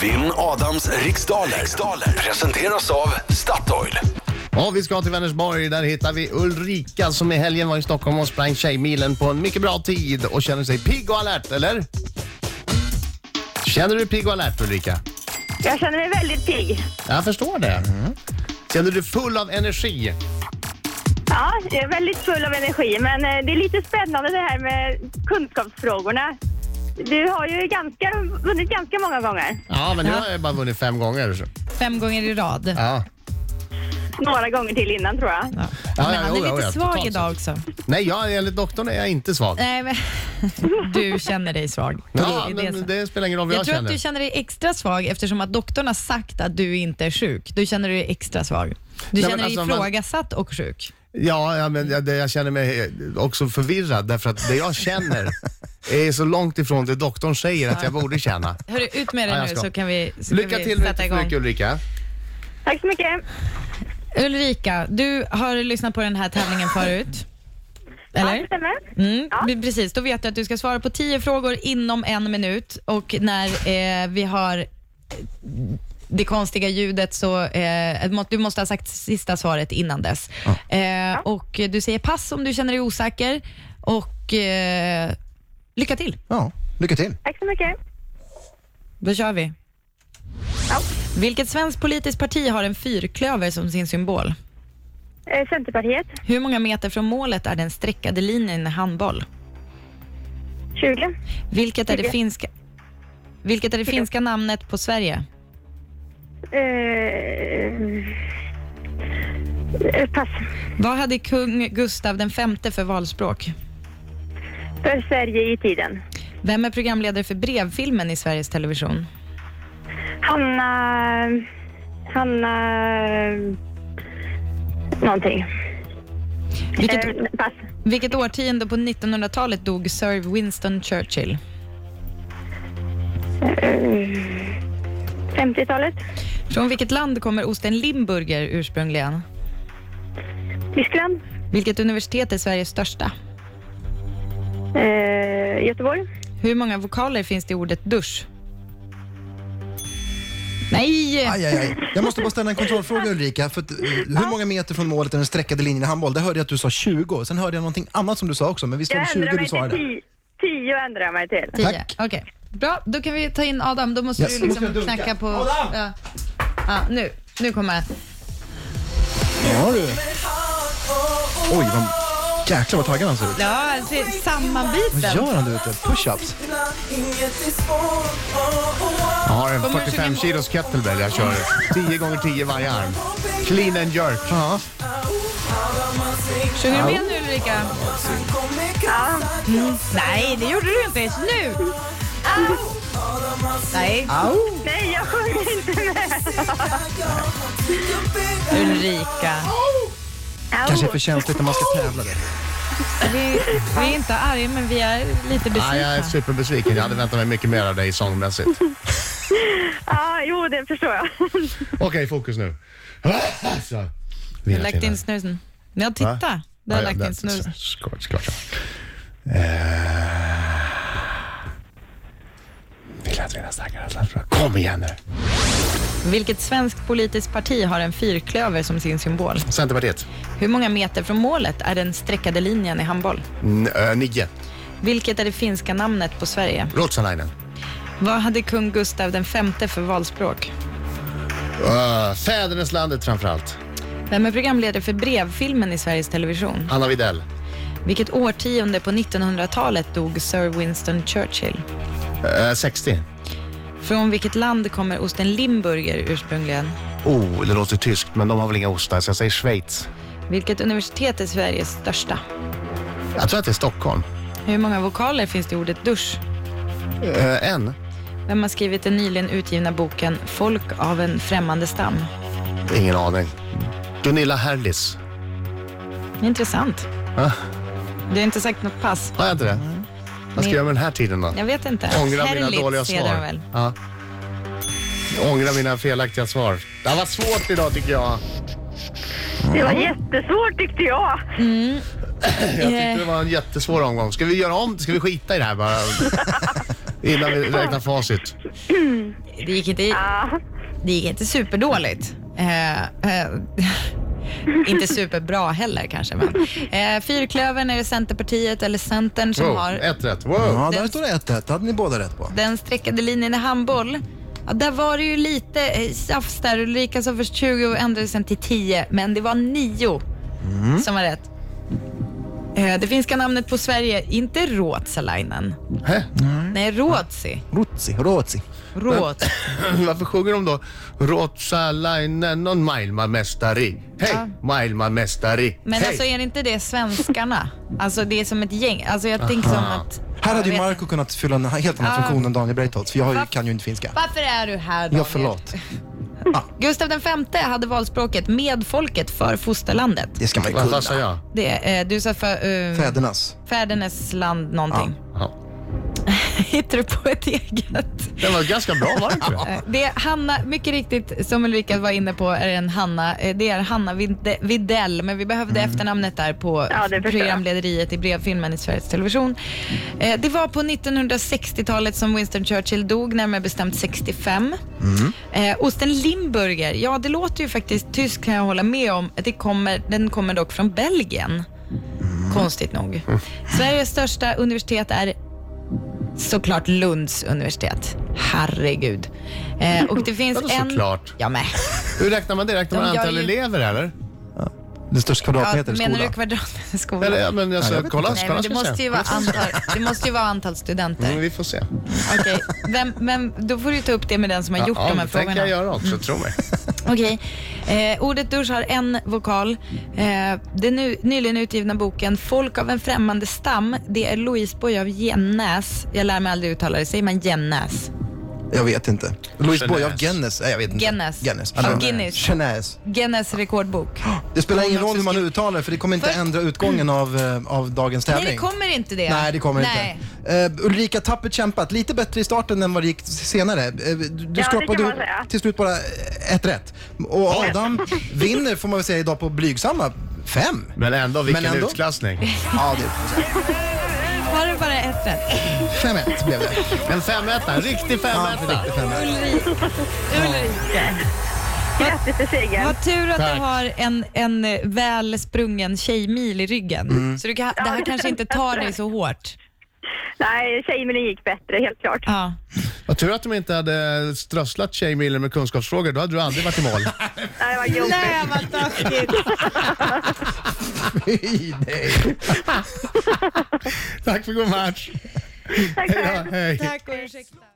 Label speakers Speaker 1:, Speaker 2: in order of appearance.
Speaker 1: Vinn Adams riksdaler. riksdaler presenteras av Statoil.
Speaker 2: Ja, vi ska till Vänersborg. Där hittar vi Ulrika som i helgen var i Stockholm och sprang Tjejmilen på en mycket bra tid och känner sig pigg och alert, eller? Känner du dig pigg och alert Ulrika?
Speaker 3: Jag känner mig väldigt pigg.
Speaker 2: Jag förstår det. Känner du dig full av energi?
Speaker 3: Ja, jag är väldigt full av energi, men eh, det är lite spännande det här med kunskapsfrågorna. Du har ju ganska, vunnit ganska många gånger.
Speaker 2: Ja, men nu har jag bara vunnit fem gånger. så-
Speaker 4: Fem gånger i rad. Ja.
Speaker 2: Ja.
Speaker 3: Några gånger till innan tror jag.
Speaker 2: ja,
Speaker 4: men han är
Speaker 2: jo,
Speaker 4: lite
Speaker 2: jo, ja,
Speaker 4: svag
Speaker 2: totalt
Speaker 4: idag också.
Speaker 2: Nej, jag, enligt doktorn är jag inte svag.
Speaker 4: Nej, men, du känner dig svag.
Speaker 2: Ja,
Speaker 4: Äh, Det är
Speaker 2: men
Speaker 4: det som-
Speaker 2: det spelar ingen roll vad
Speaker 4: jag,
Speaker 2: jag,
Speaker 4: tror
Speaker 2: känner.
Speaker 4: att du känner dig extra svag eftersom att doktorn har sagt att du inte är sjuk. Du känner dig extra svag. Du
Speaker 2: men
Speaker 4: känner dig
Speaker 2: alltså, man-
Speaker 4: ifrågasatt och sjuk.
Speaker 2: Ja, ja men jag, det- jag känner mig också förvirrad därför att det jag känner är så långt ifrån det doktorn säger att jag borde känna.
Speaker 4: Hörru, ut med dig
Speaker 2: Ja, jag
Speaker 4: nu
Speaker 2: ska.
Speaker 4: så kan vi, så
Speaker 2: Lycka
Speaker 4: kan vi
Speaker 2: till med
Speaker 4: sätta
Speaker 2: ditt
Speaker 4: igång.
Speaker 2: försök Ulrika.
Speaker 3: Tack så mycket.
Speaker 4: Ulrika, du har lyssnat på den här tävlingen förut. Eller?
Speaker 3: Ja, det stämmer.
Speaker 4: Mm, Precis, då vet du att du ska svara på 10 frågor inom en minut och när eh, vi har eh, det konstiga ljudet så eh, må- du måste ha sagt sista svaret innan dess. Eh, och du säger pass om du känner dig osäker och eh, lycka till.
Speaker 5: Ja, lycka till.
Speaker 3: Tack så mycket.
Speaker 4: Då kör vi.
Speaker 3: Ja.
Speaker 4: Vilket svenskt politiskt parti har en fyrklöver som sin symbol?
Speaker 3: Eh, Centerpartiet,
Speaker 4: Hur många meter från målet är den streckade linjen i handboll?
Speaker 3: 20.
Speaker 4: Vilket är det
Speaker 3: Tjugo.
Speaker 4: finska, vilket är det finska namnet på Sverige?
Speaker 3: Eh, eh, pass.
Speaker 4: Vad hade kung Gustav den femte för valspråk?
Speaker 3: För Sverige i tiden.
Speaker 4: Vem är programledare för brevfilmen i Sveriges Television?
Speaker 3: Hanna... Hanna... eh, Någonting.
Speaker 4: Vilket,
Speaker 3: Eh, pass.
Speaker 4: vilket årtionde på 1900-talet dog Sir Winston Churchill?
Speaker 3: 50-talet.
Speaker 4: Från vilket land kommer osten Limburger ursprungligen?
Speaker 3: Tyskland.
Speaker 4: Vilket universitet är Sveriges största?
Speaker 3: Eh, Göteborg.
Speaker 4: Hur många vokaler finns det i ordet dusch? Nej!
Speaker 5: Aj, aj, aj. Jag måste bara ställa en kontrollfråga Ulrika. För att, eh, hur många meter från målet är den streckade linjen i handboll? Det hörde jag att du sa 20. Sen hörde jag någonting annat som du sa också, men vi stod
Speaker 3: Jag
Speaker 5: 20
Speaker 3: ändrar
Speaker 5: du
Speaker 3: mig till
Speaker 5: svarade.
Speaker 3: 10. 10 ändrar jag mig till.
Speaker 4: Tio.
Speaker 5: Tack.
Speaker 4: Okej, bra. Då kan vi ta in Adam. Då måste
Speaker 5: Yes.
Speaker 4: du
Speaker 5: Måste jag
Speaker 4: liksom
Speaker 5: dunka?
Speaker 4: knacka på... Ja. Ja, nu. Nu kommer jag.
Speaker 5: Ja du. Oj, vad... Jäklar vad taggad han ser ut.
Speaker 4: Ja, alltså,
Speaker 5: Vad
Speaker 4: sammanbiten.
Speaker 5: gör han där ute? Push-ups?
Speaker 2: Jag har en
Speaker 4: Kommer du
Speaker 2: 45
Speaker 4: försöka-
Speaker 2: kilos kettlebell jag kör. 10 gånger 10 varje arm. Clean and jerk.
Speaker 5: Ja.
Speaker 4: Sjunger du med nu Ulrika? Nej, det gjorde du inte. Nu! Nej.
Speaker 3: Nej, jag sjunger inte med.
Speaker 4: Ulrika.
Speaker 5: Kanske är för känsligt när man ska tävla. Det.
Speaker 4: Vi, vi är inte arga, men vi är lite
Speaker 2: Nej, jag är
Speaker 4: besvikna.
Speaker 2: superbesviken. Jag hade väntat mig mycket mer av dig sångmässigt.
Speaker 3: Ja, jo, det förstår jag.
Speaker 2: Okej, fokus nu. Så.
Speaker 4: Jag har lagt in snusen. Ja, titta. Där har jag lagt in snusen.
Speaker 2: Skort, skort. Eh. Det lät redan starkare. det lät bra. Kom igen nu.
Speaker 4: Vilket svenskt politiskt parti har en fyrklöver som sin symbol?
Speaker 2: Centerpartiet.
Speaker 4: Hur många meter från målet är den streckade linjen i handboll?
Speaker 2: N- ö, nio.
Speaker 4: Vilket är det finska namnet på Sverige?
Speaker 2: Ruotsalainen.
Speaker 4: Vad hade kung Gustav den femte för valspråk?
Speaker 2: Uh, Fäderneslandet framförallt.
Speaker 4: Vem är programledare för brevfilmen i Sveriges Television?
Speaker 2: Anna Widell.
Speaker 4: Vilket årtionde på 1900-talet dog Sir Winston Churchill?
Speaker 2: Eh, 60.
Speaker 4: Från vilket land kommer osten Limburger ursprungligen?
Speaker 2: Oh, det låter tyskt, men de har väl inga ostar, så jag säger Schweiz.
Speaker 4: Vilket universitet är Sveriges största?
Speaker 2: Jag tror att det är Stockholm.
Speaker 4: Hur många vokaler finns det i ordet dusch?
Speaker 2: Eh, en?
Speaker 4: Vem har skrivit den nyligen utgivna boken Folk av en främmande stam?
Speaker 2: Ingen aning. Gunilla Herlis.
Speaker 4: Intressant.
Speaker 2: Ah.
Speaker 4: Du har inte sagt något pass.
Speaker 2: Har jag inte det? Vad ska jag göra med den här tiden då?
Speaker 4: Jag vet inte.
Speaker 2: Ångra mina
Speaker 4: Härligt,
Speaker 2: dåliga
Speaker 4: heter de
Speaker 2: svar.
Speaker 4: väl.
Speaker 2: Ja. Ångra mina felaktiga svar. Det här var svårt idag tycker jag.
Speaker 3: Det var jättesvårt tyckte jag.
Speaker 4: Eh,
Speaker 2: Jag tyckte det var en jättesvår omgång. Ska vi göra om? Ska vi skita i det här bara? innan vi räknar facit.
Speaker 4: Det gick inte,
Speaker 3: Ja.
Speaker 4: det gick inte superdåligt. Eh, eh, inte superbra heller kanske. Men. Eh, fyrklövern, är det Centerpartiet eller Centern som
Speaker 2: Wow,
Speaker 4: har?
Speaker 2: ett rätt. Wow.
Speaker 5: Ja, där står det 1-1. hade ni båda rätt på.
Speaker 4: Den streckade linjen i handboll. Ja, där var det ju lite eh, tjafs där. Ulrika sa först 20 och ändrade sen till 10. Men det var 9 som var rätt. Eh, Det finska namnet på Sverige, inte Ruotsalainen.
Speaker 2: Hä?
Speaker 4: Nej, Ruotsi.
Speaker 5: Rotsi, Rotsi.
Speaker 4: Ruotsi.
Speaker 2: Varför sjunger de då Rotsalainen on maailmanmästari? Hej,
Speaker 4: Ja.
Speaker 2: maailmanmästari.
Speaker 4: Men
Speaker 2: Hej.
Speaker 4: alltså är det inte det svenskarna? Alltså det är som ett gäng. Alltså jag tänker som att...
Speaker 5: Här hade ju
Speaker 4: Jag vet-
Speaker 5: Marco kunnat fylla en helt annan funktion än Daniel Breitholtz, för jag har ju,
Speaker 4: Varför-
Speaker 5: kan ju inte finska.
Speaker 4: Varför är du här Daniel?
Speaker 5: Ja, förlåt. Ah.
Speaker 4: Gustav den femte hade valspråket medfolket för fosterlandet.
Speaker 5: Det ska man ju
Speaker 2: Vad
Speaker 5: kunna.
Speaker 2: vad sa jag?
Speaker 4: Det, eh, du sa för, eh,
Speaker 5: Fädernas.
Speaker 4: fädernes land någonting.
Speaker 2: Ja.
Speaker 4: Hittar du på ett eget?
Speaker 2: Den var ganska bra, var det inte det?
Speaker 4: Eh, Det är Hanna, mycket riktigt som Ulrika var inne på, är en Hanna. eh, Det är Hanna Vinde- Videll, men vi behövde efternamnet där på
Speaker 3: Mm. Ja, det förstår jag.
Speaker 4: programlederiet i brevfilmen i Sveriges Television. Eh, Det var på 1960-talet som Winston Churchill dog, närmare bestämt 65. Eh, Osten Limburger, ja det låter ju faktiskt tyskt kan jag hålla med om. Det kommer, den kommer dock från Belgien, konstigt nog.
Speaker 2: Mm.
Speaker 4: Sveriges största universitet är såklart Lunds universitet. Herregud. Eh, och det finns
Speaker 2: Vadå
Speaker 4: en...
Speaker 2: såklart?
Speaker 4: Ja, men.
Speaker 2: Hur räknar man det? Räknar
Speaker 4: De
Speaker 2: man
Speaker 4: gör
Speaker 2: antal
Speaker 4: ju-
Speaker 2: elever eller?
Speaker 5: Den största
Speaker 4: Ja,
Speaker 5: kvadratmetern i
Speaker 4: menar du
Speaker 5: skolan.
Speaker 4: kvadratmeter skola?
Speaker 2: Eller ja, men alltså,
Speaker 5: jag vet
Speaker 2: kolla,
Speaker 4: Nej,
Speaker 2: kolla
Speaker 4: men
Speaker 2: ska
Speaker 4: det
Speaker 2: vi
Speaker 4: måste,
Speaker 2: se.
Speaker 4: ju vara antal, det måste ju vara antal
Speaker 2: Mm,
Speaker 4: studenter.
Speaker 2: vi får se.
Speaker 4: Okej, Vem, men då får du ta upp det med den som har gjort de här
Speaker 2: det tänker jag
Speaker 4: frågorna.
Speaker 2: göra också, tro mig.
Speaker 4: Okej. Eh, ordet dusch har en vokal. Eh, den nu, nyligen utgivna boken Folk av en främmande stam, det är Louise Boye av Jennäs. Jag lär mig aldrig uttala det. Säger man Jennäs?
Speaker 5: Jag vet inte. Louise Boye av
Speaker 2: Genäs.
Speaker 5: Gennes. Nej, jag vet inte.
Speaker 4: Gennes.
Speaker 5: Gennes.
Speaker 4: Av
Speaker 5: Eller-
Speaker 4: Guinness.
Speaker 5: Genäs.
Speaker 4: Gennes rekordbok.
Speaker 5: Det spelar ingen
Speaker 4: Hon har
Speaker 5: roll hur man
Speaker 4: också
Speaker 5: uttalar det, för det kommer inte
Speaker 4: Först-
Speaker 5: ändra utgången av, eh, av dagens tävling.
Speaker 4: Nej, det kommer inte det.
Speaker 5: Nej, det kommer
Speaker 4: Nej.
Speaker 5: inte. Eh, Ulrika, tappert kämpat. Lite bättre i starten än vad det gick senare. Eh, du du
Speaker 3: det
Speaker 5: skrapade
Speaker 3: kan man
Speaker 5: ihop
Speaker 3: säga.
Speaker 5: till slut bara ett rätt. Och Adam vinner, får man väl säga, idag på blygsamma fem.
Speaker 2: Men ändå, vilken
Speaker 5: ändå.
Speaker 2: utklassning.
Speaker 5: Ja, det,
Speaker 4: Var det bara ett rätt?
Speaker 5: 5-1 blev det.
Speaker 2: En femetta, en riktig
Speaker 5: Ja, det
Speaker 2: femetta.
Speaker 5: riktigt 5-1.
Speaker 4: Ulrika. Ulrika.
Speaker 3: Grattis till segern.
Speaker 4: Vad tur att
Speaker 2: Tack.
Speaker 4: du har en, en eh, väl sprungen tjejmil i ryggen. Så du kan, det här
Speaker 3: Ja.
Speaker 4: kanske inte tar dig så hårt.
Speaker 3: Nej, tjejmilen gick bättre, helt klart.
Speaker 4: Ja.
Speaker 2: Vad tur att de inte hade strösslat tjejmilen med kunskapsfrågor, då hade du aldrig varit i mål.
Speaker 3: Nej, det var jobbigt.
Speaker 4: Nej, vad taskigt.
Speaker 3: alltså.
Speaker 5: Fy, nej.
Speaker 2: Tack för god match.
Speaker 3: Tack själv.
Speaker 2: Ja, hej.
Speaker 4: Tack och ursäkta.